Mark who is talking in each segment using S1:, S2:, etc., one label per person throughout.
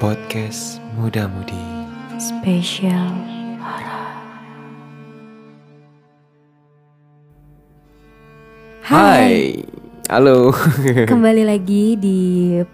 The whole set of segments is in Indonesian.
S1: Podcast Muda Mudi
S2: Spesial Horor. Hai,
S1: Halo
S2: kembali lagi di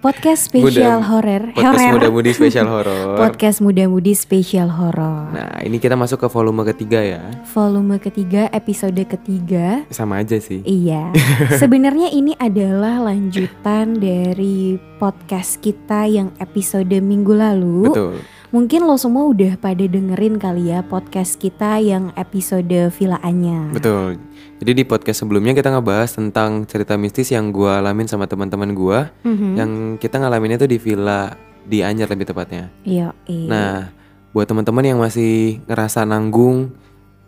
S2: podcast spesial
S1: Muda-
S2: horor.
S1: Podcast
S2: Horor.
S1: Muda Mudi Spesial Horor
S2: Podcast muda-mudi spesial horor.
S1: Nah ini kita masuk ke volume ketiga ya
S2: Volume ketiga, episode ketiga.
S1: Sama aja sih
S2: Iya. Sebenarnya ini adalah lanjutan dari podcast kita yang episode minggu lalu.
S1: Betul
S2: Mungkin lo semua udah pada dengerin kali ya podcast kita yang episode vilaannya.
S1: Betul Jadi di podcast sebelumnya kita ngebahas tentang cerita mistis yang gua alamin sama teman-teman gua
S2: Mhm.
S1: Yang kita ngalaminnya tuh di villa di Anyer lebih tepatnya
S2: Iya. iya.
S1: Nah buat teman-teman yang masih ngerasa nanggung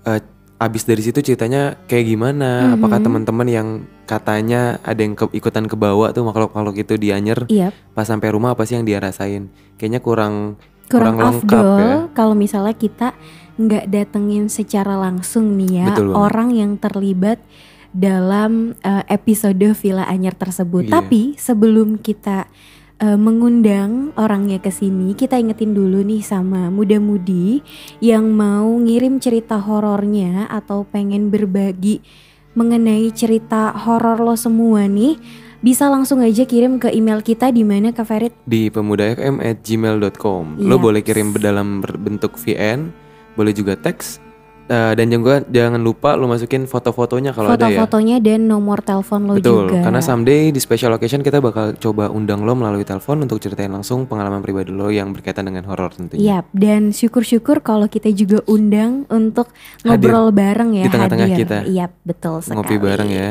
S1: eh, Abis dari situ ceritanya kayak gimana Apakah
S2: Mhm.
S1: teman-teman yang katanya ada yang ke- ikutan kebawa tuh makhluk-makhluk itu di Anyer
S2: Iya,
S1: pas sampai rumah apa sih yang dia rasain kayaknya kurang kurang
S2: kurang,
S1: lengkap
S2: afdol
S1: ya.
S2: kalau misalnya kita nggak datengin secara langsung nih ya
S1: Betul banget.
S2: orang yang terlibat dalam eh, episode Villa Anyer tersebut.
S1: Iya.
S2: Tapi sebelum kita eh, mengundang orangnya ke sini, kita ingetin dulu nih sama muda-mudi yang mau ngirim cerita horornya atau pengen berbagi mengenai cerita horor lo semua nih bisa langsung aja kirim ke email kita di mana Kak Ferit
S1: di pemudafm@gmail.com lo
S2: Iya.
S1: boleh kirim be- dalam ber- bentuk VN boleh juga teks Eh, dan juga jangan lupa lo masukin foto-fotonya kalau ada ya
S2: foto-fotonya dan nomor telepon lo
S1: betul
S2: Oh, juga.
S1: karena someday di special occasion kita bakal coba undang lo melalui telepon untuk ceritain langsung pengalaman pribadi lo yang berkaitan dengan horor tentunya
S2: Yap, dan syukur-syukur kalau kita juga undang untuk ngobrol bareng ya
S1: Di tengah-tengah
S2: hadir.
S1: kita.
S2: Yap, betul Iya, sekali.
S1: ngopi bareng ya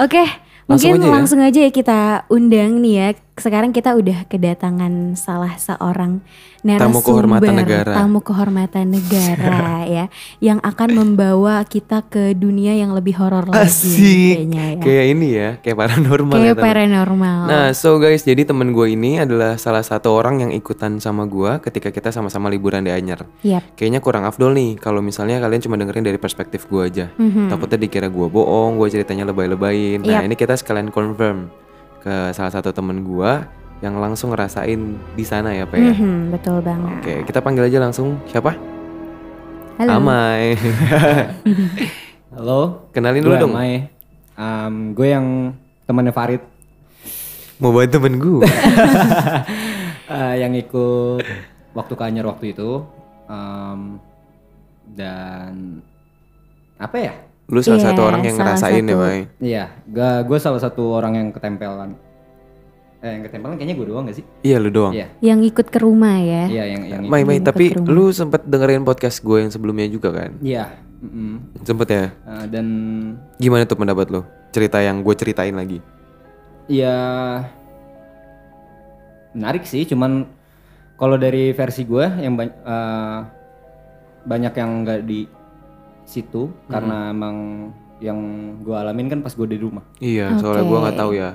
S2: Oke, mungkin
S1: aja ya.
S2: langsung aja ya kita undang nih ya. Sekarang kita udah kedatangan salah seorang narasumber,
S1: kehormatan negara.
S2: tamu kehormatan negara ya, yang akan membawa kita ke dunia yang lebih horor lagi
S1: Asik.
S2: kayaknya ya.
S1: kayak ini ya kayak paranormal ya
S2: Kayak
S1: teman.
S2: paranormal.
S1: Nah, so guys, jadi temen gue ini adalah salah satu orang yang ikutan sama gue ketika kita sama-sama liburan di Anyer.
S2: Yap.
S1: Kayaknya kurang afdol nih kalau misalnya kalian cuma dengerin dari perspektif gue aja.
S2: Mhm.
S1: Takutnya dikira gue bohong, gue ceritanya lebay-lebayin. Nah,
S2: Yap.
S1: ini kita sekalian confirm ke salah satu temen gue yang langsung ngerasain di sana ya, Pak ya.
S2: Mhm, betul banget.
S1: Oke, kita panggil aja langsung siapa?
S2: Halo.
S1: Amai.
S3: Halo,
S1: Kenalin dulu
S3: gue
S1: dong.
S3: Amai. Em, gue yang temannya Farid
S1: Mau buat temen gue.
S3: eh, yang ikut waktu kanyar waktu itu Em, dan apa ya?
S1: Lu salah
S2: Iya,
S1: satu orang yang
S2: salah
S1: ngerasain ya,
S2: satu.
S1: Mai.
S3: Iya, gue gue salah satu orang yang ketempelan. Eh, yang ketempelan kayaknya gue doang gak sih?
S1: Iya, lu doang.
S3: Iya.
S2: Yang ikut ke rumah ya.
S3: Iya, yang yang
S1: Mai, Mai,
S2: Yang
S1: tapi
S2: ikut rumah.
S1: lu sempet dengerin podcast gue yang sebelumnya juga kan?
S3: Iya. mm-mm.
S1: Sempet ya?
S3: Eh, dan
S1: Gimana tuh pendapat lo? Cerita yang gue ceritain lagi.
S3: ya menarik sih, cuman kalau dari versi gue yang ban- eh, banyak yang nggak di situ karena emang yang gue alamin kan pas gue di rumah.
S1: Iya, soalnya gue nggak
S2: Oke.
S1: tahu ya.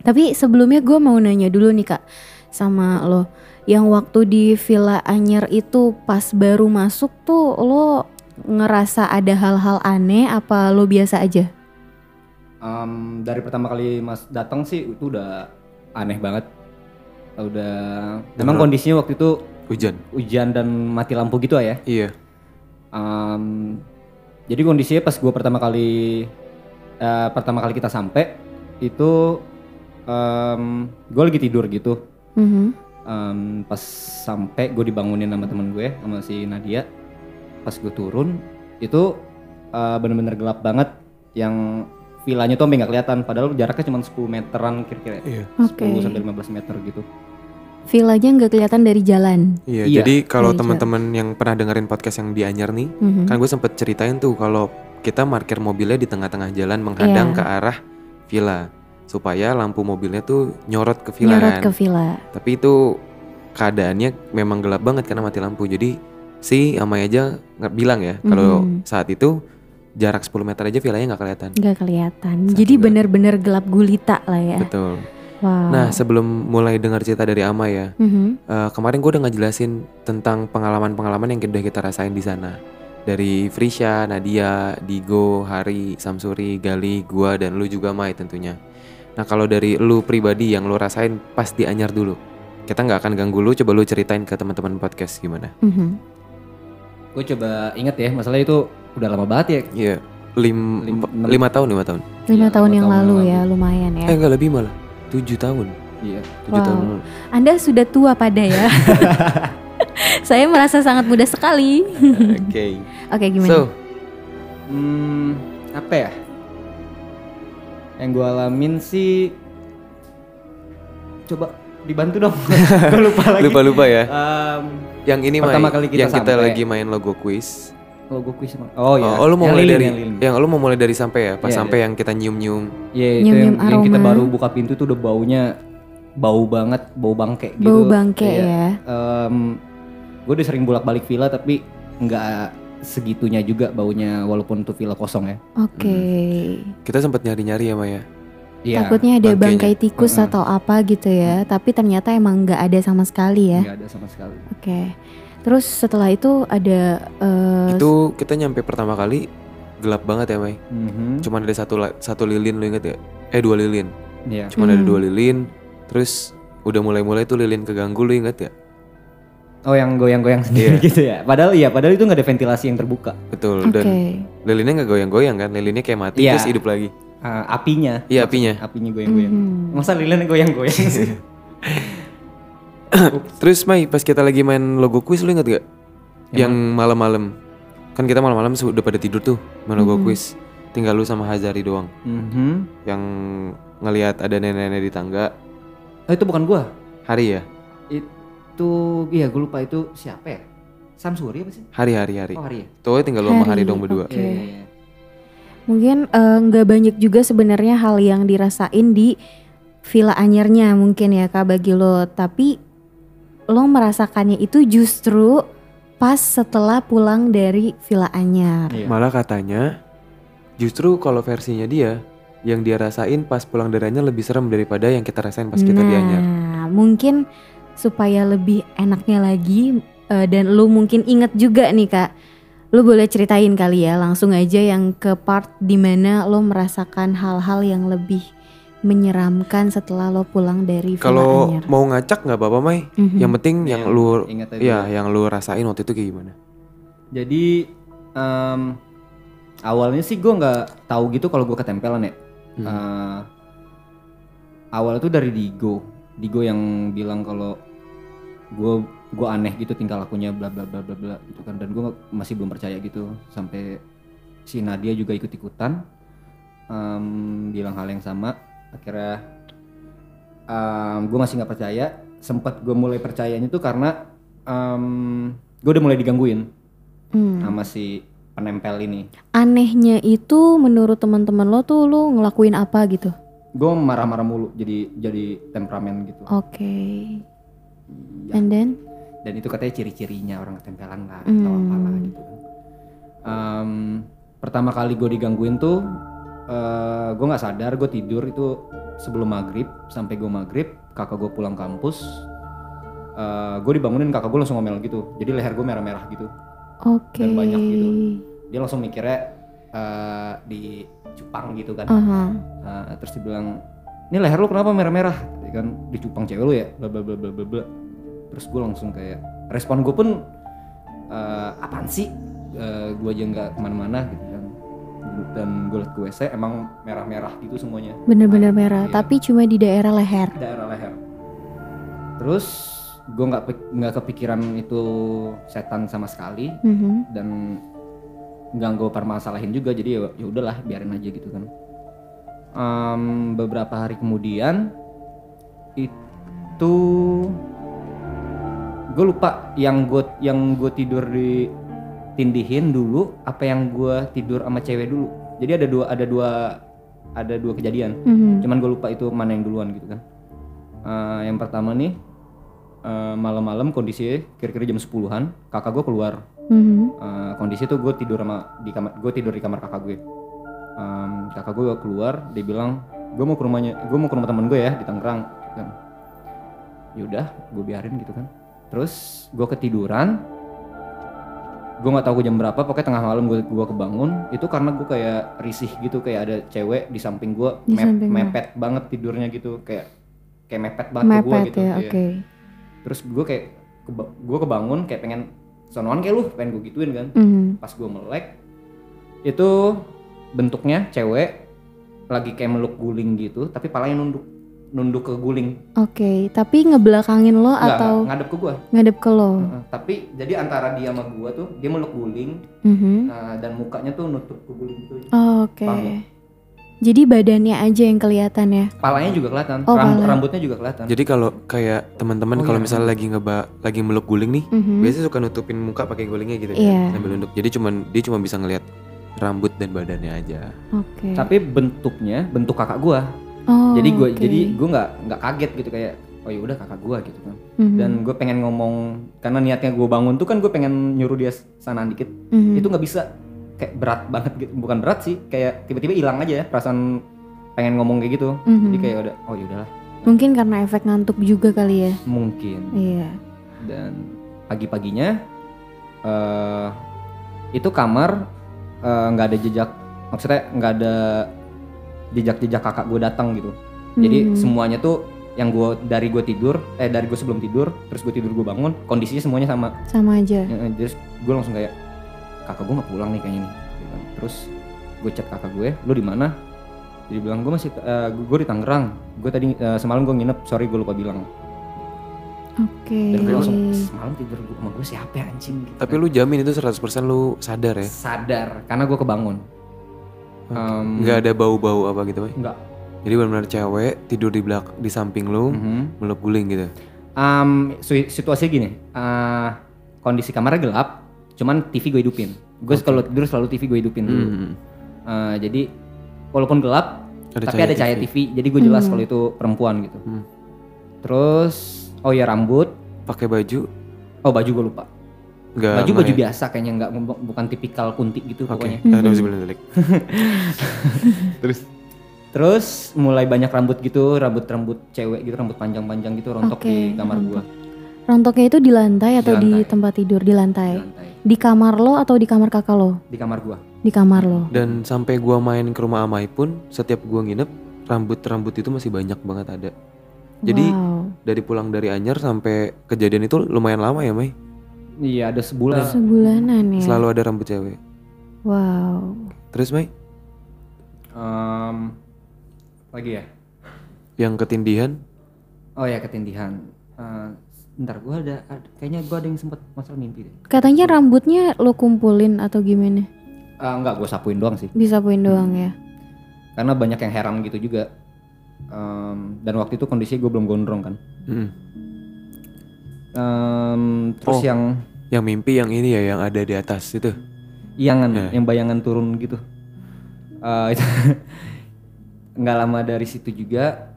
S2: Tapi sebelumnya gue mau nanya dulu nih kak sama lo. Yang waktu di Villa Anyer itu pas baru masuk tuh lo ngerasa ada hal-hal aneh apa lo biasa aja?
S3: Em, dari pertama kali mas datang sih itu udah aneh banget. Udah emang
S1: Bener.
S3: kondisinya waktu itu
S1: Hujan.
S3: hujan dan mati lampu gitu ya.
S1: Iya.
S3: Um, jadi kondisinya pas gue pertama kali eh, pertama kali kita sampai itu gue lagi tidur gitu.
S2: Mhm.
S3: Um, pas sampai gue dibangunin sama temen gue sama si Nadia. Pas gue turun itu eh, bener-bener gelap banget. Yang vilanya tuh sampai nggak kelihatan. Padahal jaraknya cuma 10 meteran kira-kira.
S1: Iya.
S2: Oke.
S3: 10 sampai 15 meter gitu.
S2: Villanya nggak kelihatan dari jalan.
S1: Iya.
S3: Iya.
S1: Jadi kalau
S2: Iya,
S1: teman-teman yang pernah dengerin podcast yang di Anyar nih,
S2: Mhm.
S1: kan gue sempet ceritain tuh kalau kita parkir mobilnya di tengah-tengah jalan menghadang
S2: Iya.
S1: ke arah villa supaya lampu mobilnya tuh nyorot ke villa
S2: Nyorot
S1: kan.
S2: ke villa.
S1: Tapi itu keadaannya memang gelap banget karena mati lampu. Jadi si Amai aja nggak bilang ya kalau
S2: Mhm.
S1: saat itu jarak 10 meter aja villanya nggak kelihatan.
S2: Nggak kelihatan.
S1: Satu
S2: Jadi
S1: gelap.
S2: bener-bener gelap gulita lah ya.
S1: Betul.
S2: Wow.
S1: Nah, sebelum mulai dengar cerita dari Ama ya,
S2: Mhm.
S1: eh, kemarin gue udah ngejelasin tentang pengalaman-pengalaman yang udah kita rasain di sana. Dari Frisha, Nadia, Digo, Hari, Samsuri, Gali, gua dan lu juga Mai tentunya. Nah, kalau dari lu pribadi yang lu rasain pas di Anyar dulu, kita nggak akan ganggu lu coba lu ceritain ke teman-teman podcast gimana
S2: Mhm.
S3: Gue coba inget ya, masalahnya itu udah lama banget ya.
S1: iya lim,
S3: Lim-
S1: empat- lima tahun lima tahun
S2: Lima
S3: Iya,
S2: tahun
S3: lima
S2: yang
S3: tahun
S2: lalu
S3: yang
S2: ya, lumayan ya.
S1: eh nggak lebih malah tujuh tahun
S3: Iya.
S1: tujuh
S2: Wow.
S1: tahun lalu.
S2: Anda sudah tua pada ya. Saya merasa sangat muda sekali.
S1: oke
S2: Oke,
S1: so
S2: gimana?
S3: Hmm, apa ya? Yang gue alamin sih, coba dibantu dong. gue lupa lagi.
S1: lupa lupa ya
S3: Em,
S1: yang ini
S3: Pertama
S1: main-
S3: kali kita
S1: yang kita
S3: sampai.
S1: lagi main logo quiz
S3: oh gue kuis sama- Oh iya.
S1: oh, lu mau
S3: Yang
S1: mulai
S3: lilin,
S1: dari
S3: yang lilin.
S1: yang lu mau mulai dari sampai ya pas
S3: Iya,
S1: sampai yang kita nyium nyium
S3: Iya itu
S2: Nyium-nyium
S3: yang, yang kita
S2: aroma.
S3: baru buka pintu tuh udah baunya bau banget, bau bangke gitu.
S2: Bau bangke
S3: Iya.
S2: ya.
S3: gue udah sering bolak balik villa tapi nggak segitunya juga baunya walaupun tuh villa kosong ya.
S2: Oke.
S1: kita sempat nyari nyari ya Maya
S3: Iya.
S2: Takutnya ada
S1: bangkainya.
S2: bangkai tikus
S1: Mm-hmm.
S3: Mm-mm.
S2: atau apa gitu ya, tapi ternyata emang nggak ada sama sekali
S1: Iya.
S2: ya.
S3: nggak ada sama sekali.
S2: Oke. Terus setelah itu ada eh,
S1: itu kita nyampe pertama kali gelap banget ya Maya
S3: Mhm.
S1: cuman ada satu la- satu lilin lu inget ya eh dua lilin
S3: Iya.
S1: cuman ada
S2: Hmm.
S1: dua lilin terus udah mulai mulai tuh lilin keganggu lu inget ya
S3: Oh yang goyang-goyang sendiri
S1: Iya.
S3: gitu ya. Padahal iya, padahal itu nggak ada ventilasi yang terbuka.
S1: betul
S2: Oke.
S1: dan lilinnya nggak goyang goyang kan lilinnya kayak mati
S3: Iya.
S1: terus hidup lagi
S3: Ah, apinya.
S1: iya apinya
S3: Apinya goyang-goyang.
S2: Mhm.
S3: Masa lilin goyang-goyang sih?
S1: Terus Mai, pas kita lagi main logo quiz lu inget gak? Yang malam-malam. Kan kita malam-malam su- udah pada tidur tuh main logo
S2: Mhm.
S1: quiz. Tinggal lu sama Hazari doang
S3: Mhm.
S1: yang ngelihat ada nenek-nenek di tangga.
S3: Oh, itu bukan gua.
S1: Hari ya?
S3: Itu iya gue lupa itu siapa ya? Samsuri apa sih?
S1: Hari hari hari.
S3: Oh, hari ya. Iya,
S1: Tuh tinggal lu sama Hari
S2: Hari,
S1: dong berdua.
S2: Oke. Mungkin eh, nggak banyak juga sebenarnya hal yang dirasain di Villa Anyarnya mungkin ya Kak bagi lo, tapi lo merasakannya itu justru pas setelah pulang dari Villa Anyar.
S3: Iya.
S1: Malah katanya justru kalau versinya dia yang dia rasain pas pulang dari Anyar lebih serem daripada yang kita rasain pas kita di Anyar.
S2: Nah, mungkin supaya lebih enaknya lagi eh, dan lu mungkin inget juga nih kak, lu boleh ceritain kali ya langsung aja yang ke part dimana lo merasakan hal-hal yang lebih menyeramkan setelah lo pulang dari Villa
S1: Kalau
S2: Anyar.
S1: mau ngacak nggak apa-apa Mai.
S2: Mhm.
S1: Yang penting yang
S3: Iya,
S1: lu
S3: Ingat aja.
S1: ya yang lu rasain waktu itu kayak gimana?
S3: Jadi em, awalnya sih gue nggak tahu gitu kalau gue ketempelan ya.
S1: Hmm.
S3: Eh, awalnya tuh dari Digo, Digo yang bilang kalau gue gue aneh gitu tingkah lakunya bla bla bla bla bla gitu kan dan gue masih belum percaya gitu sampai si Nadia juga ikut ikutan bilang hal yang sama akhirnya gue masih nggak percaya sempat gue mulai percayanya tuh karena gue udah mulai digangguin
S2: Hmm.
S3: sama si penempel ini.
S2: Anehnya itu menurut teman-teman lo tuh lo ngelakuin apa gitu?
S3: Gue marah-marah mulu jadi jadi temperamen gitu.
S2: Oke,
S3: Ya,
S2: and then
S3: Dan itu katanya ciri-cirinya orang ketempelan lah
S2: Hmm.
S3: atau apalah gitu. kan. Em, pertama kali gue digangguin tuh gue nggak sadar gue tidur itu sebelum maghrib sampai gue maghrib kakak gue pulang kampus gue dibangunin kakak gue langsung ngomel gitu jadi leher gue merah-merah gitu
S2: oke.
S3: Dan banyak gitu. dia langsung mikirnya eh, di Jepang gitu kan
S2: Aha.
S3: Nah, terus dibilang, ini leher lu kenapa merah-merah? Ya kan dicupang cewek lu ya, bla bla bla bla bla bla. Terus gue langsung kayak, respon gue pun eh, apaan sih? Eh, gue aja nggak kemana-mana gitu kan. Dan gue liat ke WC emang merah-merah gitu semuanya
S2: Bener-bener merah,
S3: Iya.
S2: tapi cuma di daerah leher.
S3: daerah leher. Terus gue nggak pik- nggak kepikiran itu setan sama sekali
S2: Mhm.
S3: dan nggak gue permasalahin juga jadi ya ya udahlah biarin aja gitu kan Em, beberapa hari kemudian itu gue lupa yang gue yang gue tidur di tindihin dulu apa yang gue tidur sama cewek dulu jadi ada dua ada dua ada dua kejadian
S2: Mhm.
S3: cuman gue lupa itu mana yang duluan gitu kan Eh, yang pertama nih eh, malam-malam kondisi kira-kira jam 10-an kakak gue keluar
S2: Mhm.
S3: Eh, kondisi tuh gue tidur sama di kamar gue tidur di kamar kakak gue Em, kakak gue keluar dia bilang gue mau ke rumahnya gue mau ke rumah teman gue ya di Tangerang gitu kan yaudah gue biarin gitu kan terus gue ketiduran gue nggak tahu jam berapa pokoknya tengah malam gue gua kebangun itu karena gue kayak risih gitu kayak ada cewek di samping gue
S2: Di samping lu.
S3: mepet banget tidurnya gitu kayak kayak mepet banget ke gue
S2: Mepet
S3: gitu
S2: ya,
S3: iya.
S2: oke.
S3: terus gue kayak keba- gue kebangun kayak pengen sonoan kayak lu pengen gue gituin kan
S2: Mhm.
S3: pas gue melek itu bentuknya cewek lagi kayak meluk guling gitu tapi palanya nunduk nunduk ke guling
S2: Oke, tapi ngebelakangin lo
S3: nggak
S2: atau Hmm.
S3: nggak, ngadep ke gue
S2: ngadep ke lo?
S3: tapi jadi antara dia sama gue tuh dia meluk guling
S2: Mhm.
S3: nah, dan mukanya tuh nutup ke guling gitu
S2: Oh, Oke.
S3: Paham.
S2: Jadi badannya aja yang kelihatan ya?
S3: palanya juga kelihatan
S2: Oh,
S3: ramb-
S2: pala.
S3: rambutnya juga kelihatan
S1: Jadi kalau kayak teman-teman
S3: Oh,
S1: kalau
S3: iya. Hmm.
S1: misalnya lagi ngeba lagi meluk guling nih,
S2: Mhm.
S1: biasanya suka nutupin muka pakai gulingnya gitu kan,
S2: Iya.
S1: sambil nunduk. Jadi cuman dia cuma bisa ngelihat rambut dan badannya aja.
S2: Oke.
S3: tapi bentuknya bentuk kakak gue
S2: Oh,
S3: jadi gue
S2: oke.
S3: jadi gue nggak nggak kaget gitu kayak oh ya udah kakak gue gitu kan
S2: Mhm.
S3: dan gue pengen ngomong karena niatnya gue bangun tuh kan gue pengen nyuruh dia sanaan dikit
S2: Mhm.
S3: itu nggak bisa kayak berat banget gitu bukan berat sih kayak tiba-tiba hilang aja ya perasaan pengen ngomong kayak gitu
S2: Mhm.
S3: jadi kayak udah oh ya udahlah
S2: mungkin karena efek ngantuk juga kali ya?
S3: mungkin
S2: Iya.
S3: dan pagi-paginya eh itu kamar eh, nggak ada jejak maksudnya nggak ada jejak-jejak kakak gue datang gitu jadi
S2: Mhm.
S3: semuanya tuh yang gue dari gue tidur eh dari gue sebelum tidur terus gue tidur gue bangun kondisinya semuanya sama
S2: sama aja.
S3: Ya, terus gue langsung kayak kakak gue nggak pulang nih kayaknya nih gitu kan. terus gue chat kakak gue lu di mana jadi bilang gue masih eh, gue di Tangerang gue tadi eh, semalam gue nginep sorry gue lupa bilang
S2: Oke.
S3: dan gue langsung
S2: Hmm.
S3: semalam tidur gua sama gue siapa ya anjing gitu
S1: Tapi
S3: kan.
S1: lu jamin itu 100% lu sadar ya?
S3: sadar karena gue kebangun Em,
S1: nggak ada bau-bau apa gitu, Boy.
S3: nggak
S1: Jadi benar-benar cewek tidur di belak di samping lu,
S3: Mhm.
S1: meluk guling gitu.
S3: Em, si- situasinya gini eh, kondisi kamarnya gelap cuman TV gue hidupin gue
S1: Oke.
S3: kalau tidur selalu TV gue hidupin dulu
S1: Mhm.
S3: Eh, jadi walaupun gelap tapi ada cahaya TV, jadi gue jelas
S2: Hmm.
S3: kalau itu perempuan gitu.
S1: Hmm.
S3: Terus oh ya rambut,
S1: Pakai baju
S3: oh baju gue lupa.
S1: nggak
S3: Baju
S1: nggak
S3: baju
S1: ya?
S3: biasa kayaknya nggak bu- bukan tipikal kunti gitu
S1: Oke.
S3: pokoknya.
S1: Eh,
S2: Mhm.
S1: terus bilang delik. Terus
S3: Terus mulai banyak rambut gitu, rambut-rambut cewek gitu, rambut panjang-panjang gitu rontok
S2: Oke,
S3: di kamar gue,
S2: Rontoknya itu di lantai atau di,
S3: lantai.
S2: tempat tidur di
S3: di
S2: lantai?
S3: lantai,
S2: Di kamar lo atau di kamar kakak lo?
S3: di kamar gue.
S2: Di kamar lo.
S3: Hmm.
S1: dan sampai gua main ke rumah Amai pun setiap gua nginep rambut-rambut itu masih banyak banget ada. Jadi
S2: wow.
S1: dari pulang dari Anyer sampai kejadian itu lumayan lama ya, Mai.
S3: Iya ada sebulan.
S2: sebulanan
S3: Iya.
S2: ya.
S1: Selalu ada rambut cewek.
S2: Wow.
S1: Terus, Mai,
S3: Em, lagi ya.
S1: yang ketindihan
S3: Oh ya ketindihan. Eh, ntar gue ada, ada- kayaknya gue ada yang sempet masalah mimpi deh.
S2: Katanya rambutnya lo kumpulin atau gimana?
S3: Eh, enggak gue sapuin doang sih.
S2: Bisa poin doang ya.
S3: karena banyak yang heran gitu juga Em, dan waktu itu kondisi gue belum gondrong kan
S1: Mm.
S3: Em, terus
S1: Oh.
S3: yang
S1: yang mimpi yang ini ya yang ada di atas itu.
S3: iangan
S1: Eh.
S3: yang bayangan turun gitu Eh, itu nggak lama dari situ juga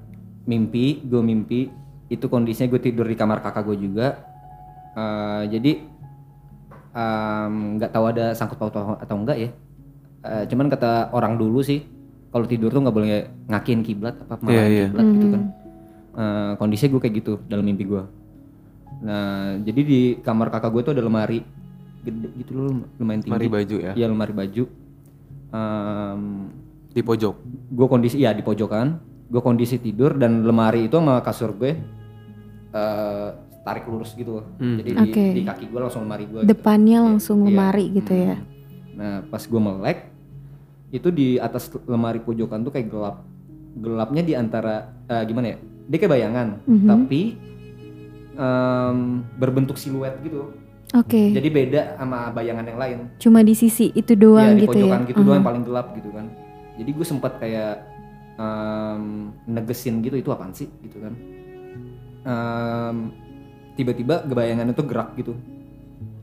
S3: mimpi gue mimpi itu kondisinya gue tidur di kamar kakak gue juga Eh, jadi em, nggak tahu ada sangkut paut atau atau enggak ya Eh, cuman kata orang dulu sih kalau tidur tuh nggak boleh ngakin kiblat apa
S1: Iya,
S3: malahin
S1: iya.
S3: kiblat gitu kan
S2: Mhm.
S3: Eh, kondisinya gue kayak gitu dalam mimpi gue. Nah, jadi di kamar kakak gue tuh ada lemari gede gitu loh, lum- lumayan
S1: Mari
S3: tinggi.
S1: baju ya.
S3: Iya, lemari baju. Em,
S1: Di pojok.
S3: gue kondisi ya di pojokan, gue kondisi tidur dan lemari itu sama kasur gue eh tarik lurus gitu. loh.
S1: Hmm.
S3: Jadi di-
S2: Oke.
S3: di, kaki gue langsung lemari gue. gitu.
S2: Depannya langsung
S3: Iya.
S2: lemari gitu ya.
S3: Hmm. Nah, pas gue melek itu di atas lemari pojokan tuh kayak gelap. Gelapnya di antara eh, gimana ya? Dia kayak bayangan,
S2: Mhm.
S3: tapi em, berbentuk siluet gitu.
S2: Oke.
S3: Jadi beda sama bayangan yang lain.
S2: Cuma di sisi itu
S3: Ya,
S2: doang
S3: di
S2: gitu ya.
S3: pojokan gitu
S2: Aha.
S3: doang yang paling gelap gitu kan. Jadi gue sempat kayak em, negesin gitu itu apaan sih gitu kan. Em, tiba-tiba bayangannya tuh gerak gitu.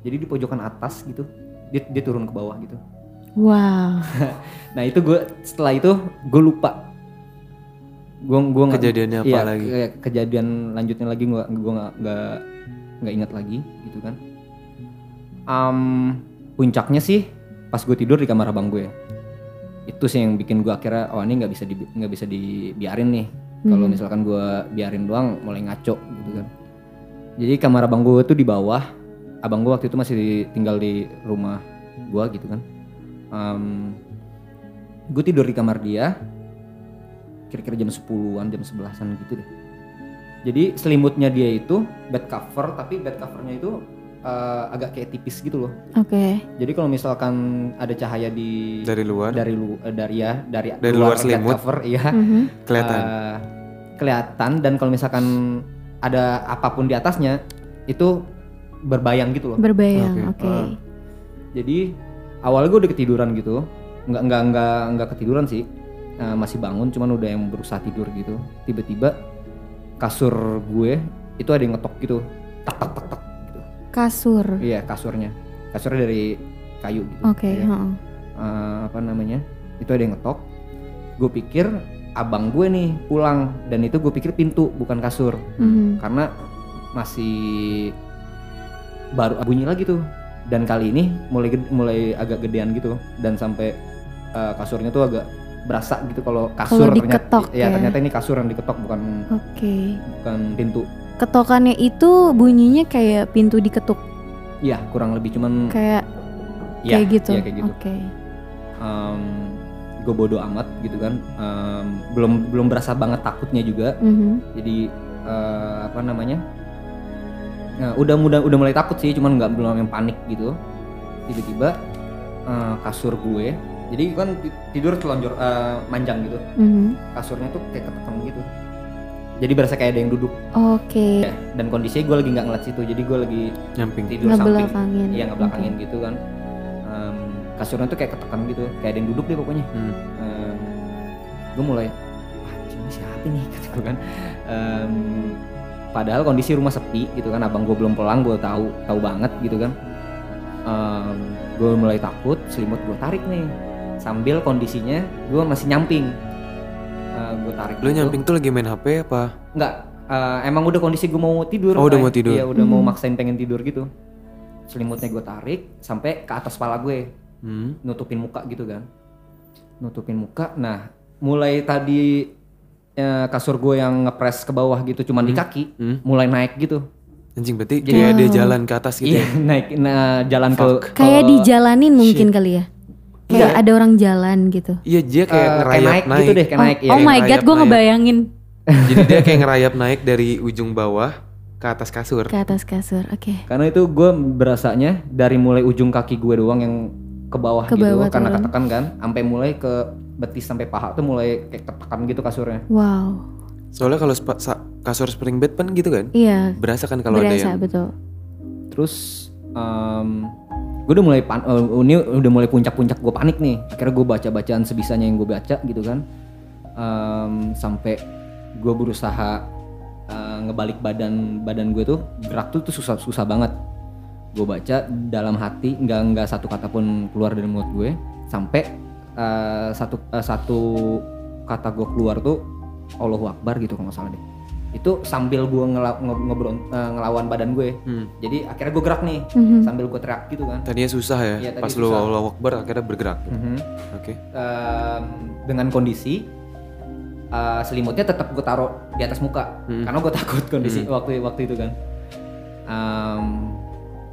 S3: Jadi di pojokan atas gitu. Dia, dia turun ke bawah gitu.
S2: Wow.
S3: Nah itu gue setelah itu gue lupa. Gue gue nggak
S1: Kejadiannya apa
S3: iya,
S1: lagi?
S3: kayak kejadian lanjutnya lagi gue gue nggak nggak nggak ingat lagi gitu kan. Am, puncaknya sih pas gue tidur di kamar abang gue. Itu sih yang bikin gue akhirnya oh ini nggak bisa dibi- nggak bisa dibiarin nih. Kalau
S2: Mhm.
S3: misalkan gue biarin doang mulai ngaco gitu kan. Jadi kamar abang gue tuh di bawah. Abang gue waktu itu masih di- tinggal di rumah gue gitu kan. gue tidur di kamar dia. Kira-kira jam 10-an, jam 11-an gitu deh. Jadi selimutnya dia itu bed cover tapi bed covernya itu eh, agak kayak tipis gitu loh.
S2: Oke.
S3: Jadi kalau misalkan ada cahaya di
S1: dari luar
S3: dari lu eh, dari ya dari
S1: Dari luar
S3: bed
S1: selimut.
S3: cover iya
S2: Mhm.
S1: kelihatan
S3: eh, kelihatan dan kalau misalkan ada apapun di atasnya itu berbayang gitu loh.
S2: Berbayang.
S1: Oke.
S2: Oke.
S3: Ah. Jadi awalnya gue udah ketiduran gitu, nggak nggak nggak nggak ketiduran sih, Eh, masih bangun cuman udah yang berusaha tidur gitu. Tiba-tiba kasur gue itu ada yang ngetok gitu, tak tak tak tak.
S2: Kasur.
S3: Iya kasurnya, kasurnya dari kayu gitu.
S2: Oke.
S3: Iya.
S2: heeh.
S3: Eh, apa namanya? Itu ada yang ngetok. Gue pikir abang gue nih pulang dan itu gue pikir pintu bukan kasur
S2: Mhm.
S3: karena masih baru bunyi lagi tuh dan kali ini mulai ged- mulai agak gedean gitu dan sampai uh, kasurnya tuh agak berasa gitu kalau kasur
S2: Kalau diketok
S3: ternyata ya,
S2: ya.
S3: ternyata ini kasur yang diketok bukan
S2: Oke.
S3: bukan pintu
S2: Ketokannya itu bunyinya kayak pintu diketuk,
S3: ya kurang lebih cuman
S2: kayak
S3: ya
S2: kayak gitu.
S3: ya kayak gitu
S2: Oke.
S3: gue bodo amat gitu kan Em, belum belum berasa banget takutnya juga
S2: Mhm.
S3: jadi eh, apa namanya Nah, udah mudah udah mulai takut sih cuman nggak belum yang panik gitu tiba-tiba eh, kasur gue jadi kan ti- tidur telonjor eh, manjang gitu
S2: Mhm.
S3: kasurnya tuh kayak ketekan gitu jadi berasa kayak ada yang duduk
S2: Oke.
S3: dan kondisinya gue lagi nggak ngeliat situ jadi gue lagi
S1: nyamping
S3: tidur samping
S2: Ngebelakangin.
S3: iya nggak belakangin gitu kan Em, kasurnya tuh kayak ketekan gitu kayak ada yang duduk deh pokoknya
S1: Hmm.
S3: gue mulai anjing ini siapa nih kata gue kan Em, padahal kondisi rumah sepi gitu kan abang gue belum pulang gue tahu tahu banget gitu kan gue mulai takut selimut gue tarik nih sambil kondisinya gue masih nyamping gue tarik
S1: lu
S3: gitu.
S1: nyamping tuh lagi main HP apa
S3: Enggak, eh, emang udah kondisi gue mau tidur.
S1: Oh, udah
S3: Nay.
S1: mau tidur.
S3: Iya, udah mau
S2: Hmm.
S3: maksain pengen tidur gitu. Selimutnya gue tarik sampai ke atas kepala gue,
S1: hmm.
S3: nutupin muka gitu kan. Nutupin muka. Nah, mulai tadi eh, kasur gue yang ngepres ke bawah gitu cuman di
S1: Hmm.
S3: kaki,
S1: Hmm.
S3: mulai naik gitu.
S1: anjing berarti
S3: Jadi-
S1: kayak dia
S2: Wow.
S1: jalan ke atas gitu
S3: Iya, naik nah, jalan ke
S1: Fuck.
S2: Kayak
S3: ke-
S2: dijalanin mungkin kali ya. Kayak
S3: Iya.
S2: ada orang jalan gitu.
S1: ya iya dia
S3: eh,
S1: kayak ngerayap
S3: naik,
S1: naik,
S3: gitu deh, kayak
S2: Oh,
S3: naik ya.
S2: oh my god, gue
S1: Rayap-rayap.
S2: ngebayangin
S1: jadi dia kayak ngerayap naik dari ujung bawah ke atas kasur
S2: ke atas kasur. Oke.
S3: Karena itu gue berasanya dari mulai ujung kaki gue doang yang ke bawah
S2: Ke
S3: gitu
S2: bawah ya.
S3: karena
S2: turun.
S3: ketekan kan, sampai mulai ke betis sampai paha tuh mulai kayak ketekan gitu kasurnya.
S2: Wow.
S1: soalnya kalau spa- sa- kasur spring bed kan gitu kan
S2: Iya.
S1: berasa kan kalau ada
S2: Berasa
S1: yang
S2: betul.
S3: Terus em, gue udah mulai pan, eh, ini udah mulai puncak-puncak gue panik nih. Akhirnya gue baca bacaan sebisanya yang gue baca gitu kan, Em, sampai gue berusaha eh, ngebalik badan badan gue tuh gerak tuh tuh susah susah banget. Gue baca dalam hati nggak nggak satu kata pun keluar dari mulut gue sampai eh, satu eh, satu kata gue keluar tuh Allahu Akbar gitu kalau nggak salah deh. Itu sambil gue ngela- nge- ngebron- eh, ngelawan badan gue.
S1: hmm.
S3: Jadi akhirnya gue gerak nih
S2: Mhm.
S3: sambil gue teriak gitu kan.
S1: tadinya susah ya,
S3: Iya, tadi
S1: pas lu
S3: susah. Hmm.
S1: Allah Akbar akhirnya bergerak oke
S3: Em, dengan kondisi eh, selimutnya tetap gue taruh di atas muka
S1: Hmm.
S3: karena gue takut kondisi
S1: Hmm.
S3: waktu waktu itu kan. Em,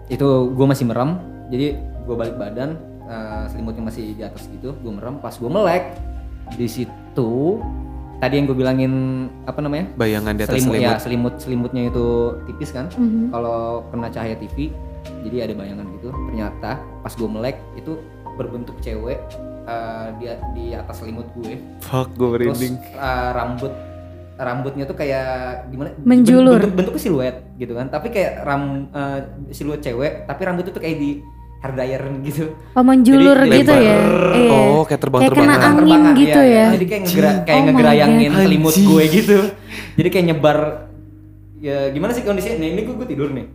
S3: itu gue masih merem, jadi gue balik badan, eh, selimutnya masih di atas gitu, gue merem. Pas gue melek di situ, tadi yang gue bilangin apa namanya?
S1: bayangan di atas
S3: ya
S1: selimut
S3: selimut selimutnya itu tipis kan?
S2: Mhm.
S3: kalau kena cahaya TV jadi ada bayangan gitu ternyata pas gue melek itu berbentuk cewek eh, di, di atas selimut gue
S1: fuck gue
S3: terus
S1: merinding
S3: eh, rambut rambutnya tuh kayak gimana
S2: Menjulur.
S3: bentuk, bentuknya siluet gitu kan tapi kayak ram eh, siluet cewek tapi rambutnya tuh kayak di hair dryer gitu
S2: Oh menjulur
S1: Jadi
S2: gitu ya.
S1: lebar.
S2: Iya.
S1: oh kayak terbang
S2: Kayak kena
S1: terbangan
S2: angin. gitu
S3: iya,
S2: ya.
S3: jadi kayak ngegera-
S1: Anjing.
S2: Oh
S3: kayak
S2: my
S3: ngegerayangin
S1: God.
S3: selimut
S1: Anjing.
S3: gue gitu jadi kayak nyebar ya gimana sih kondisinya Nih, ini gue, gue tidur nih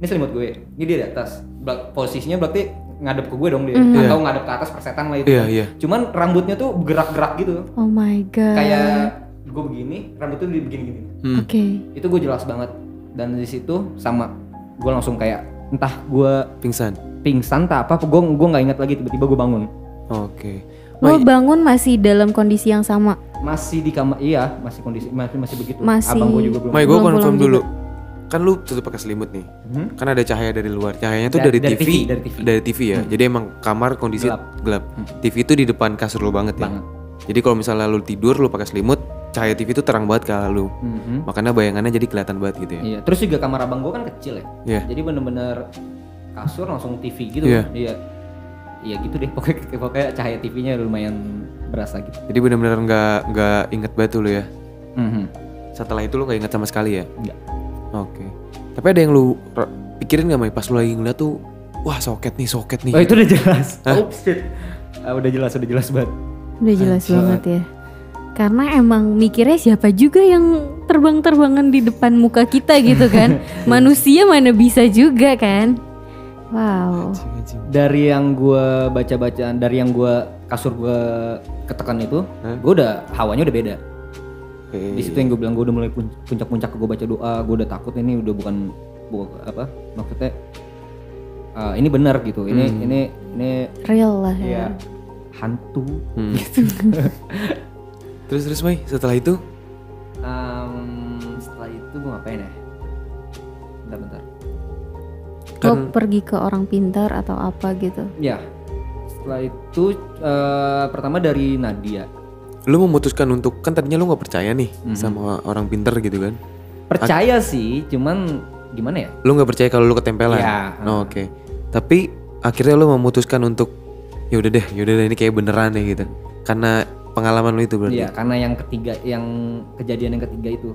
S3: ini selimut gue ini dia di atas Belak- posisinya berarti ngadep ke gue dong dia
S2: Mhm.
S3: atau ngadep ke atas persetan lah itu
S1: iya iya
S3: cuman rambutnya tuh gerak-gerak gitu
S2: Oh my god.
S3: kayak gue begini rambutnya tuh begini-gini
S1: Hmm.
S2: Oke.
S3: itu gue jelas banget dan di situ sama gue langsung kayak entah gue
S1: pingsan
S3: pingsan tak apa gue gue nggak ingat lagi tiba-tiba gue bangun
S1: oke
S2: Lo
S1: Mai,
S2: bangun masih dalam kondisi yang sama.
S3: masih di kamar iya masih kondisi masih masih begitu
S2: Masih.
S3: abang gue juga belum
S1: Mai gue
S2: Belum
S1: confirm
S2: pulang
S1: dulu kan lu tutup pakai selimut nih
S3: Hmm?
S1: kan ada cahaya dari luar cahayanya tuh
S3: Da-
S1: dari,
S3: dari
S1: TV,
S3: TV, dari TV.
S1: ya jadi emang kamar kondisi gelap,
S3: Gelap. Hmm.
S1: TV itu di depan kasur lu banget ya
S3: Banget.
S1: jadi kalau misalnya lu tidur lu pakai selimut cahaya TV itu terang banget ke lu.
S3: Mhm.
S1: Makanya bayangannya jadi kelihatan banget gitu ya.
S3: Iya, terus juga kamar abang gua kan kecil ya.
S1: Iya.
S3: Jadi bener-bener kasur langsung TV gitu.
S1: Iya.
S3: Iya. Iya gitu deh pokoknya pokoknya cahaya TV-nya lumayan berasa gitu.
S1: Jadi benar-benar nggak nggak inget banget lu ya.
S3: Mhm.
S1: Setelah itu lu nggak inget sama sekali ya?
S3: Nggak.
S1: Oke. Tapi ada yang lu r- pikirin nggak Mai pas lu lagi ngeliat tuh, wah soket nih, soket nih.
S3: Oh, itu udah jelas.
S1: Hah?
S3: Oh, shit. Ah, udah jelas, udah jelas banget.
S2: Udah jelas
S3: Anjay.
S2: banget ya. Karena emang mikirnya siapa juga yang terbang-terbangan di depan muka kita gitu kan.
S3: Iya.
S2: Manusia mana bisa juga kan. Wow.
S1: Anjing, anjing.
S3: Dari yang gua baca-bacaan, dari yang gua kasur gua ketekan itu,
S1: Hah?
S3: gua udah hawanya udah beda.
S1: Oke.
S3: Di situ yang gue bilang gue udah mulai pun- puncak-puncak gue baca doa, gue udah takut ini udah bukan bu- apa maksudnya uh, ini benar gitu. Ini
S1: Hmm. Iya.
S3: ini ini
S2: Real lah
S3: ya
S2: ya.
S3: hantu.
S1: Hmm.
S3: gitu.
S1: terus terus Mai, setelah itu
S3: Um, setelah itu gue ngapain ya? Bentar bentar.
S2: Lo
S1: kan
S2: pergi ke orang pintar atau apa gitu.
S3: Ya. Setelah itu uh, pertama dari Nadia.
S1: lu memutuskan untuk kan tadinya lu nggak percaya nih
S3: Mhm.
S1: sama orang pinter gitu kan?
S3: Percaya sih, cuman gimana ya?
S1: Lu nggak percaya kalau lu ketempelan?
S3: Ya.
S1: Oh, Oke. Tapi akhirnya lu memutuskan untuk ya udah deh, ya udah deh ini kayak beneran deh gitu. Karena pengalaman lu itu berarti.
S3: Iya, karena yang ketiga yang kejadian yang ketiga itu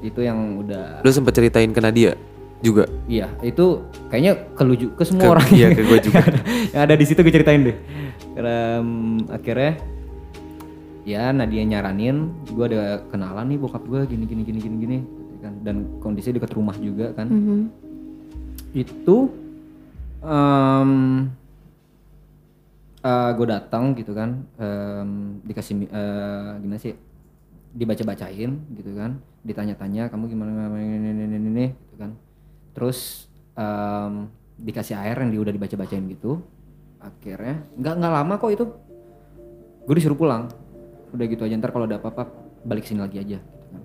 S3: itu yang udah
S1: Lu sempat ceritain ke Nadia juga.
S3: iya itu kayaknya keluju
S1: Ke,
S3: ke semua orang
S1: iya, ke gue juga.
S3: yang ada di situ gue ceritain deh. Karena mm, akhirnya ya Nadia nyaranin, gue ada kenalan nih bokap gue gini gini gini gini gini kan dan kondisi dekat rumah juga kan.
S2: Mhm.
S3: Itu gue datang gitu kan em, dikasih mi- eh, gimana sih dibaca-bacain gitu kan ditanya-tanya kamu gimana gimana, gimana, ini ini, ini, ini, gitu kan terus em, dikasih air yang di- udah dibaca-bacain gitu akhirnya nggak nggak lama kok itu gue disuruh pulang udah gitu aja ntar kalau ada apa-apa balik sini lagi aja gitu kan.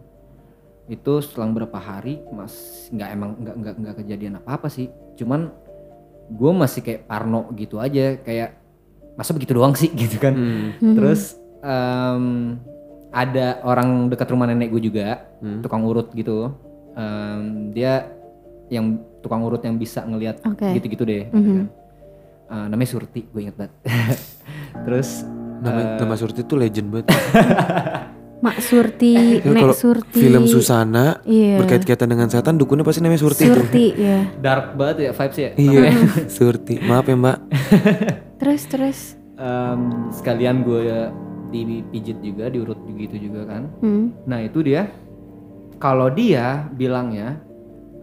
S3: itu selang berapa hari mas nggak emang nggak nggak nggak kejadian apa-apa sih cuman gue masih kayak parno gitu aja kayak masa begitu doang sih gitu kan
S1: Hmm.
S2: Mhm.
S3: terus em, ada orang dekat rumah nenek gue juga
S1: Hmm.
S3: tukang urut gitu Em, dia yang tukang urut yang bisa ngelihat
S2: Oke.
S3: gitu-gitu deh gitu
S2: Mhm.
S3: kan. Eh, namanya Surti gue inget banget terus
S1: Nama, nama Surti tuh legend banget.
S2: Mak Surti,
S3: Iya,
S1: Ya,
S2: Nek
S1: kalau
S2: Surti.
S1: Film Susana
S2: Iya.
S1: berkait-kaitan dengan setan, dukunnya pasti namanya Surti. tuh.
S2: Surti ya.
S3: dark banget ya vibes ya
S1: Iya, Surti. Maaf ya Mbak.
S2: Terus terus.
S3: Em, sekalian gue dipijit juga diurut gitu juga kan
S2: Hmm.
S3: Nah itu dia kalau dia bilangnya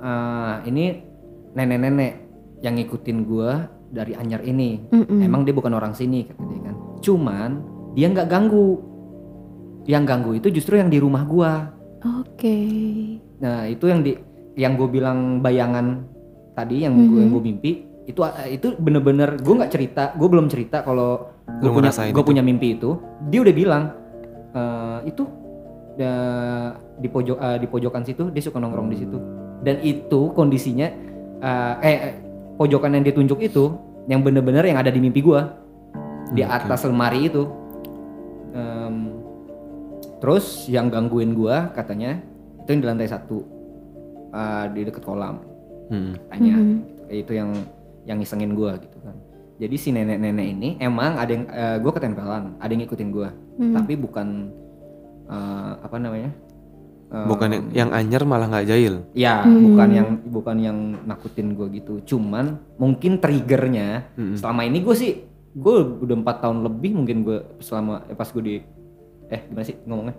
S3: "Eh, ini nenek-nenek yang ngikutin gua dari anyar ini.
S2: Mm-mm.
S3: Emang dia bukan orang sini kata dia kan. Cuman dia nggak ganggu. Yang ganggu itu justru yang di rumah gua.
S2: Oke.
S3: Nah itu yang di yang gue bilang bayangan tadi yang gue
S2: Mhm.
S3: yang gua mimpi itu eh, itu bener-bener gue nggak cerita gue belum cerita kalau gue
S1: Lu
S3: punya
S1: ngerasain
S3: gue
S1: itu?
S3: punya mimpi itu dia udah bilang "Eh, itu da- di pojok eh, di pojokan situ dia suka nongkrong di situ dan itu kondisinya eh, eh eh, pojokan yang ditunjuk itu yang bener-bener yang ada di mimpi gue di
S1: Hmm, Oke.
S3: atas lemari itu Em, terus yang gangguin gua katanya itu yang di lantai satu eh, di deket kolam
S1: Hmm.
S3: katanya
S2: Mhm.
S3: itu yang yang ngisengin gua gitu kan jadi si nenek-nenek ini emang ada yang eh, gua ketempelan ada yang ngikutin gua
S2: Hmm.
S3: tapi bukan eh, apa namanya Eh,
S1: Bukan yang, yang anyar malah nggak jahil.
S3: ya
S2: Hmm.
S3: bukan yang bukan yang nakutin gua gitu cuman mungkin triggernya
S1: Mm-mm.
S3: selama ini gue sih gue udah empat tahun lebih mungkin gue selama eh, pas gue di eh gimana sih ngomongnya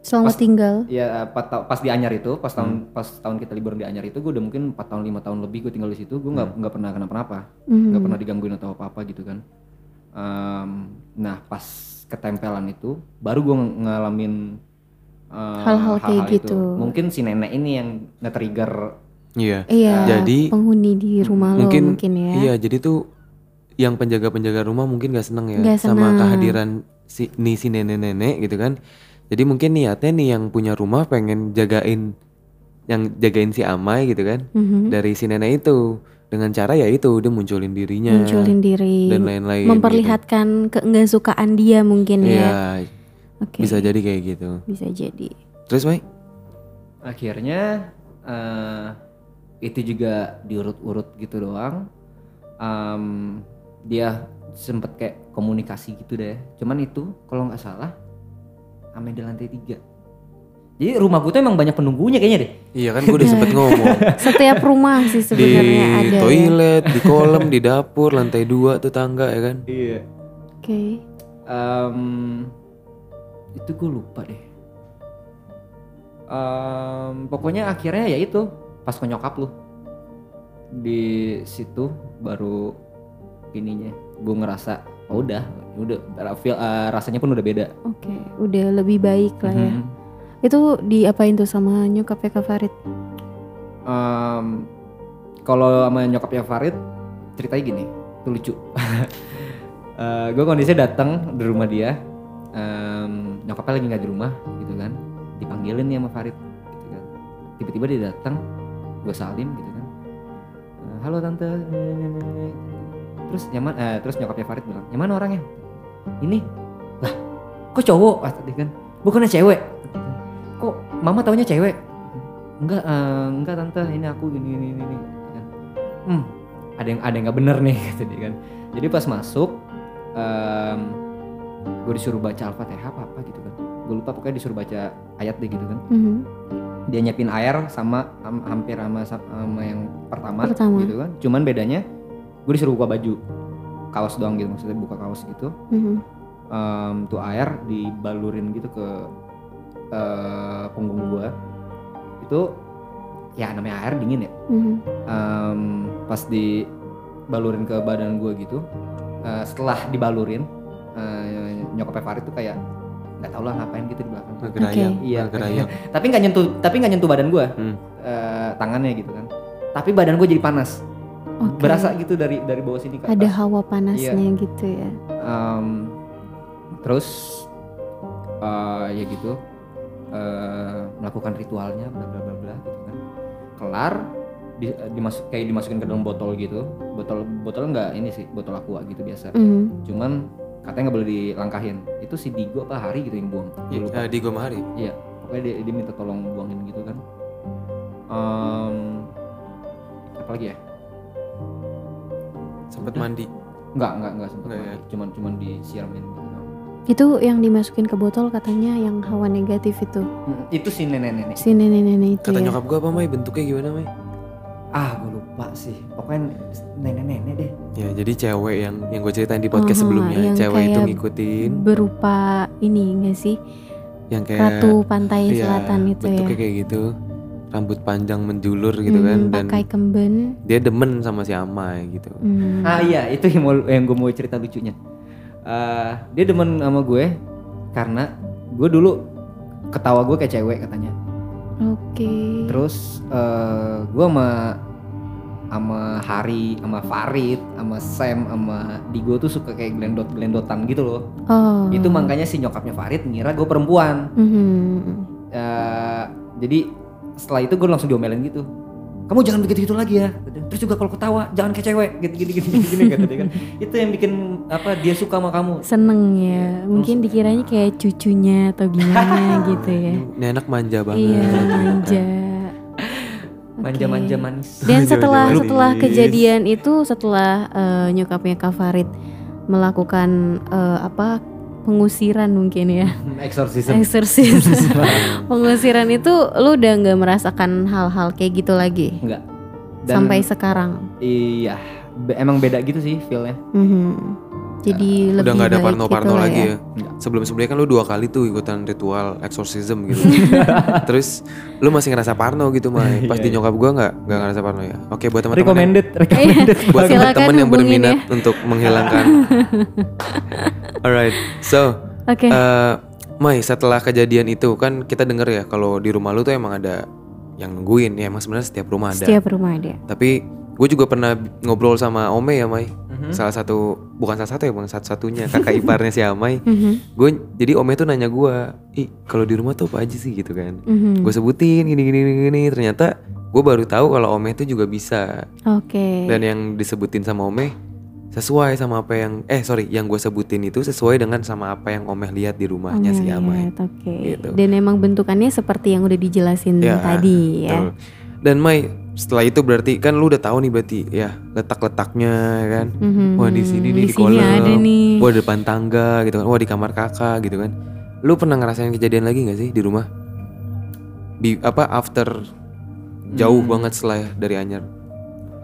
S2: Selama
S3: Pas-
S2: tinggal.
S3: ya pas ta- pas di Anyar itu
S2: Hmm.
S3: pas tahun pas tahun kita liburan di Anyar itu gue udah mungkin 4 tahun lima tahun lebih gue tinggal di situ gue nggak
S2: Hmm.
S3: nggak pernah kenapa-napa
S2: Mhm.
S3: nggak pernah digangguin atau apa apa gitu kan Em, nah pas ketempelan itu baru gue ng- ngalamin eh,
S2: Hal-hal kayak
S3: hal-hal
S2: gitu.
S3: itu. mungkin si nenek ini yang nge-trigger
S1: Iya.
S2: Iya.
S1: Jadi-
S2: penghuni di rumah
S1: mungkin-
S2: lo mungkin ya.
S1: Iya, jadi tuh yang penjaga-penjaga rumah mungkin gak seneng ya
S2: Nggak
S1: sama
S2: seneng.
S1: kehadiran si nih si nenek-nenek gitu kan. Jadi mungkin niatnya nih yang punya rumah pengen jagain yang jagain si Amai gitu kan
S2: Mhm.
S1: dari si nenek itu dengan cara ya itu dia munculin dirinya
S2: Munculin diri.
S1: dan lain-lain. gitu.
S2: memperlihatkan keenggan sukaan dia mungkin ya.
S1: Iya.
S2: Oke.
S1: Bisa jadi kayak gitu.
S2: Bisa jadi.
S1: Terus Mai?
S3: akhirnya eh, itu juga diurut-urut gitu doang Em, dia sempet kayak komunikasi gitu deh cuman itu kalau nggak salah sampai di lantai tiga jadi rumah gue tuh emang banyak penunggunya kayaknya deh
S1: Iya kan gue udah sempet ngomong
S2: Setiap rumah sih
S1: di
S2: sebenarnya ada. ya.
S1: toilet, di kolam, di dapur, lantai dua tuh tangga ya kan.
S3: iya
S2: Oke.
S3: itu gue lupa deh Em, pokoknya akhirnya ya itu pas ke nyokap lu di situ baru ininya gue ngerasa oh udah udah feel, eh, rasanya pun udah beda
S2: Oke, udah lebih baik lah ya.
S3: Mhm.
S2: Itu diapain tuh sama nyokapnya Kak Farid?
S3: Em, kalau sama nyokapnya Farid ceritanya gini itu lucu Eh, gue kondisinya datang di rumah dia em, nyokapnya lagi nggak di rumah gitu kan dipanggilin nih sama Farid gitu kan tiba-tiba dia datang gue salim gitu kan Eh, halo tante terus nyaman eh, terus nyokapnya Farid bilang yang mana orangnya ini lah kok cowok ah, tadi kan bukannya cewek kan. kok mama taunya cewek enggak eh, enggak tante ini aku gini gini gini gitu kan. hmm ada yang ada yang nggak bener nih gitu dia kan jadi pas masuk gue disuruh baca al-fatihah apa apa gitu kan gue lupa pokoknya disuruh baca ayat deh gitu kan dia nyiapin air sama am- hampir sama, sama yang pertama,
S2: Pertama.
S3: gitu kan cuman bedanya gue disuruh buka baju kaos doang gitu maksudnya buka kaos gitu Em, tuh air dibalurin gitu ke eh, punggung gua itu ya namanya air dingin ya Em, pas dibalurin ke badan gua gitu eh, setelah dibalurin eh, nyokapnya Farid tuh kayak nggak tau lah ngapain gitu di belakang
S1: Ngegerayang,
S2: Oke.
S3: Iya.
S1: ngegerayang.
S3: tapi nggak nyentuh tapi nggak nyentuh badan gua
S1: Hmm.
S3: eh, tangannya gitu kan tapi badan gua jadi panas
S2: Oke.
S3: berasa gitu dari dari bawah sini ke atas.
S2: Ada hawa panasnya
S1: Iya.
S2: gitu ya.
S3: Em, terus eh, ya gitu eh, melakukan ritualnya bla bla bla bla gitu kan kelar di, dimasuk kayak dimasukin ke dalam botol gitu botol botol nggak ini sih botol aqua gitu biasa
S2: Mhm.
S3: cuman katanya nggak boleh dilangkahin itu si Digo apa Hari gitu yang buang Gua
S1: Ya,
S3: lupa.
S1: eh, di Gomahari.
S3: pokoknya dia, dia minta tolong buangin gitu kan Em, apa lagi ya
S1: Sempet
S3: Udah.
S1: mandi.
S3: nggak nggak nggak sempet
S1: Nggak ya?
S3: mandi. cuman cuman disiaramin gitu doang.
S2: Itu yang dimasukin ke botol katanya yang hawa negatif itu.
S3: Mm, itu si nenek-nenek
S2: Si nenek-nenek itu
S1: Kata
S2: ya.
S1: nyokap gue apa Mai bentuknya gimana Mai?
S3: ah gue lupa sih pokoknya nenek-nenek deh
S1: Ya jadi cewek yang yang gue ceritain di podcast
S2: Aha,
S1: sebelumnya,
S2: Oh, yang
S1: cewek itu
S2: kayak
S1: ngikutin
S2: Berupa ini enggak sih?
S1: yang kayak
S2: Ratu pantai
S1: iya,
S2: selatan itu ya.
S1: bentuknya kayak gitu, rambut panjang menjulur gitu kan
S2: Mhm,
S1: dan
S2: pakai kemben.
S1: dia demen sama si Amai gitu.
S2: Mhm.
S3: ah iya itu yang, mau- yang gue mau cerita lucunya Eh, dia demen sama gue karena gue dulu ketawa gue kayak cewek katanya
S2: Oke.
S3: terus eh, gue sama sama Hari, sama Farid, sama Sam, sama Digo tuh suka kayak glendot glendotan gitu loh.
S2: Oh.
S3: Itu makanya si nyokapnya Farid ngira gue perempuan.
S2: Mhm.
S3: Eh, jadi setelah itu gue langsung diomelin gitu kamu jangan begitu gitu lagi ya Gitu. terus juga kalau ketawa jangan kayak cewek gitu gini gini gini, gini kata dia kan itu yang bikin apa dia suka sama kamu
S2: seneng ya mungkin dikiranya kayak cucunya atau gimana gitu ya
S1: Ini anak manja banget. gitu ya kan.
S2: iya manja Oke.
S3: manja-manja manis
S2: dan setelah
S1: Manja-manja
S2: setelah
S1: manis.
S2: kejadian itu setelah eh, nyokapnya Kak Farid melakukan eh, apa pengusiran mungkin ya
S3: exorcism
S2: eksorsis
S1: Iya.
S2: pengusiran itu lu udah nggak merasakan hal-hal kayak gitu lagi
S3: enggak
S2: sampai sekarang
S3: iya be- emang beda gitu sih feelnya
S2: Mhm. jadi
S1: Udah
S2: lebih
S1: nggak ada
S2: baik
S1: parno-parno
S2: gitu lah
S1: lagi
S2: ya.
S1: ya.
S3: Nggak.
S1: Sebelum sebelumnya kan lu dua kali tuh ikutan ritual exorcism gitu. Terus lu masih ngerasa parno gitu Mai. Pas
S3: Iya,
S1: di
S3: iya.
S1: nyokap gua nggak nggak ngerasa parno ya. Oke buat teman-teman yang-
S3: recommended recommended
S1: buat
S2: Silakan
S1: teman-teman yang
S2: hubungin ya.
S1: berminat untuk menghilangkan. Alright, so
S2: oke
S1: eh Mai setelah kejadian itu kan kita denger ya kalau di rumah lu tuh emang ada yang nungguin ya emang sebenarnya setiap rumah ada.
S2: setiap rumah ada
S1: Tapi gue juga pernah ngobrol sama Ome ya Mai,
S3: Mhm.
S1: salah satu bukan salah satu ya bang satu-satunya kakak iparnya si Amai.
S2: Mhm,
S1: Gue jadi Ome tuh nanya gue, ih kalau di rumah tuh apa aja sih gitu kan?
S2: mhm.
S1: Gue sebutin gini gini gini, gini. ternyata gue baru tahu kalau Ome tuh juga bisa
S2: oke
S1: dan yang disebutin sama Ome sesuai sama apa yang eh sorry yang gue sebutin itu sesuai dengan sama apa yang Omeh lihat di rumahnya si Amai.
S2: Ngeliat, Oke.
S1: Gitu.
S2: Dan emang bentukannya seperti yang udah dijelasin
S1: Ya,
S2: tadi ya.
S1: Betul. Dan Mai setelah itu berarti kan lu udah tahu nih berarti ya letak letaknya kan.
S2: Mhm.
S1: Wah, di sini nih,
S2: Di
S1: di
S2: sini
S1: kolam.
S2: ada nih.
S1: Wah depan tangga gitu kan. Wah di kamar kakak gitu kan. Lu pernah ngerasain kejadian lagi nggak sih di rumah? Di apa after jauh
S3: Hmm.
S1: banget setelah dari Anyar.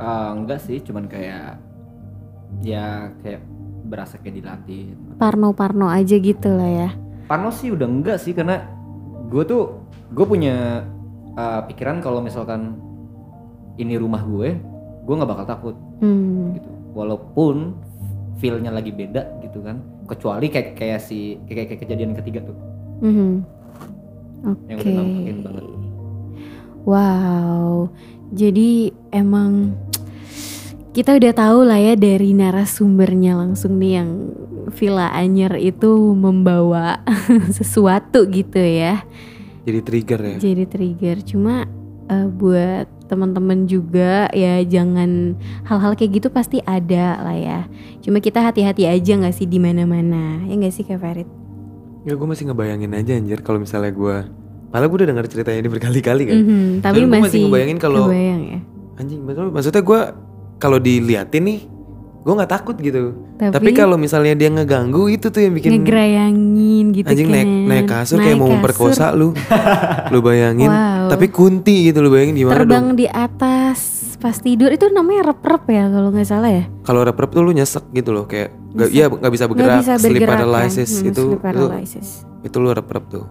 S3: Ah, enggak sih, cuman kayak ya kayak berasa kayak dilatih.
S2: Parno-parno aja gitu lah ya.
S3: Parno sih udah enggak sih karena gue tuh gue punya ah, pikiran kalau misalkan ini rumah gue, gue nggak bakal takut
S2: Hmm.
S3: gitu. Walaupun feelnya lagi beda gitu kan. Kecuali kayak kayak si kayak, kayak kejadian ketiga tuh
S2: Mhm. Oke.
S3: yang udah nampakin banget.
S2: Wow. Jadi emang kita udah tahu lah ya dari narasumbernya langsung nih yang Villa Anyer itu membawa sesuatu gitu ya.
S1: Jadi trigger ya.
S2: Jadi trigger. Cuma eh, buat teman-teman juga ya jangan hal-hal kayak gitu pasti ada lah ya. Cuma kita hati-hati aja nggak sih di mana-mana. Ya nggak sih Kak Ferit?
S1: Ya gue masih ngebayangin aja anjir kalau misalnya gue Padahal gue udah denger ceritanya ini berkali-kali kan
S2: Mhm, tapi
S1: Cuman gua masih
S2: masih
S1: ngebayangin kalau-
S2: kebayang ya.
S1: Anjing maksud- maksudnya gue kalau diliatin nih gue nggak takut gitu
S2: Tapi,
S1: Tapi kalau misalnya dia ngeganggu itu tuh yang bikin
S2: ngegrayangin gitu
S1: Anjing
S2: kan.
S1: naik, naik kasur kayak
S2: Naik
S1: mau
S2: kasur.
S1: memperkosa lu Lu bayangin
S2: Wow.
S1: Tapi kunti gitu lu bayangin gimana
S2: terbang
S1: dong
S2: di atas pas tidur itu namanya rep-rep ya kalau nggak salah ya.
S1: Kalau rep-rep tuh lu nyesek gitu loh Kayak nggak
S2: Bisa.
S1: ya, nggak bisa
S2: Nggak
S1: bergerak
S2: bisa
S1: Sleep
S2: bergerak kan.
S1: paralysis
S2: Hmm,
S1: itu,
S2: sleep
S1: itu
S2: paralysis.
S1: Itu lu rep-rep tuh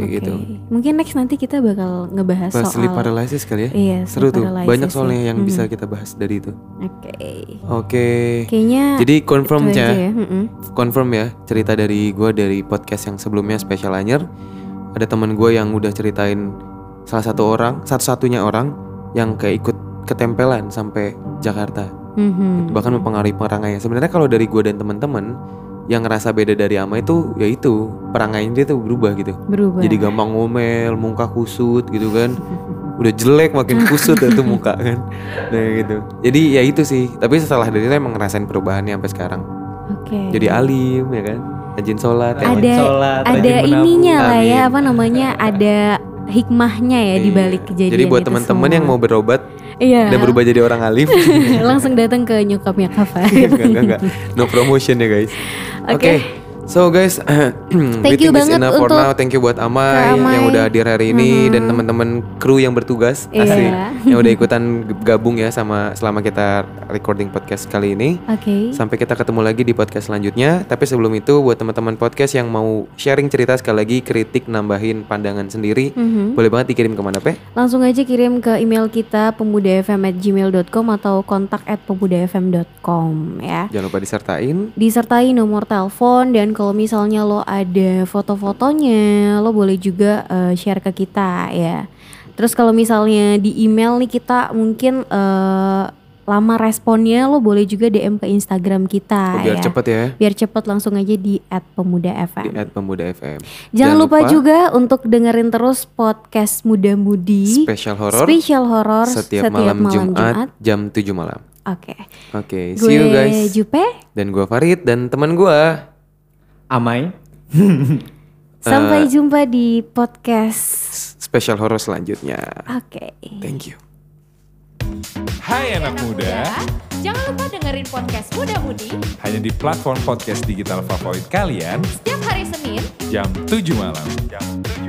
S1: Kayak
S2: Oke.
S1: gitu
S2: Mungkin next nanti kita bakal ngebahas
S1: Pas
S2: soal
S1: Sleep paralysis kali ya
S2: Iya, sleep
S1: Seru tuh
S2: paralysis
S1: Banyak
S2: ya.
S1: soalnya yang
S2: Mhm.
S1: bisa kita bahas dari itu
S2: Oke.
S1: Oke
S2: Kayaknya
S1: Jadi confirm
S2: itu aja
S1: ya,
S2: ya. mm-mm.
S1: confirm ya cerita dari gue dari podcast yang sebelumnya Special Anyer. Ada teman gue yang udah ceritain salah satu orang, satu-satunya orang yang kayak ikut ketempelan sampai Jakarta,
S2: Mhm.
S1: Gitu. bahkan mempengaruhi perangainya. Sebenarnya kalau dari gue dan teman-teman yang ngerasa beda dari Ama itu yaitu perangainya dia tuh berubah gitu.
S2: berubah.
S1: Jadi gampang ngomel, muka kusut gitu kan. Udah jelek makin kusut itu muka kan. Nah gitu. Jadi ya itu sih. Tapi setelah dari itu emang ngerasain perubahannya sampai sekarang
S2: Oke.
S1: jadi alim ya kan rajin sholat ya kan?
S2: Ada-
S3: Sholat,
S2: ada
S3: rajin menabung.
S2: ininya lah ya
S1: Amin.
S2: apa namanya ada hikmahnya ya di
S1: Iya.
S2: balik kejadian
S1: jadi buat
S2: itu
S1: teman-teman
S2: semua.
S1: yang mau berobat
S2: iya.
S1: dan berubah jadi orang alim
S2: langsung datang ke nyokapnya Iya. Kava.
S1: enggak enggak enggak no promotion ya guys
S2: Oke.
S1: oke So guys, thank
S2: you banget
S1: for
S2: untuk
S1: now. Thank you buat Amai,
S2: Kak Amai. Mm-hmm.
S1: yang udah hadir hari ini dan teman-teman kru yang bertugas,
S2: Iya.
S1: asik, yang udah ikutan gabung ya sama selama kita recording podcast kali ini.
S2: Oke.
S1: Sampai kita ketemu lagi di podcast selanjutnya. Tapi sebelum itu buat teman-teman podcast yang mau sharing cerita sekali lagi, kritik, nambahin pandangan sendiri,
S2: Mhm.
S1: boleh banget dikirim kemana pe?
S2: Langsung aja kirim ke email kita pemudafm@gmail.com atau kontak at pemudafm.com ya.
S1: Jangan lupa disertain.
S2: Disertai nomor telepon dan kalau misalnya lo ada foto-fotonya, lo boleh juga eh, share ke kita ya. Terus kalau misalnya di email nih kita mungkin eh, lama responnya, lo boleh juga DM ke Instagram kita
S1: biar
S2: ya.
S1: cepet ya
S2: Biar cepet langsung aja di at pemuda
S1: di
S2: FM.
S1: at pemuda FM.
S2: Jangan
S1: Jangan
S2: lupa,
S1: lupa-
S2: juga untuk dengerin terus podcast Muda Mudi
S1: Special horror
S2: Special horror
S1: setiap, malam, Jumat, jam 7 malam.
S2: Oke.
S1: Oke,
S2: Gue
S1: see you guys. Eh,
S2: Jupe.
S1: Dan gua Farid dan teman gua
S3: Amai.
S2: Sampai jumpa di podcast.
S1: s- special horror selanjutnya.
S2: Oke.
S1: Thank you.
S4: Hai anak muda,
S5: Jangan lupa dengerin podcast Muda Mudi
S4: hanya di platform podcast digital favorit kalian
S5: setiap hari Senin
S4: jam 7 malam. Jam 7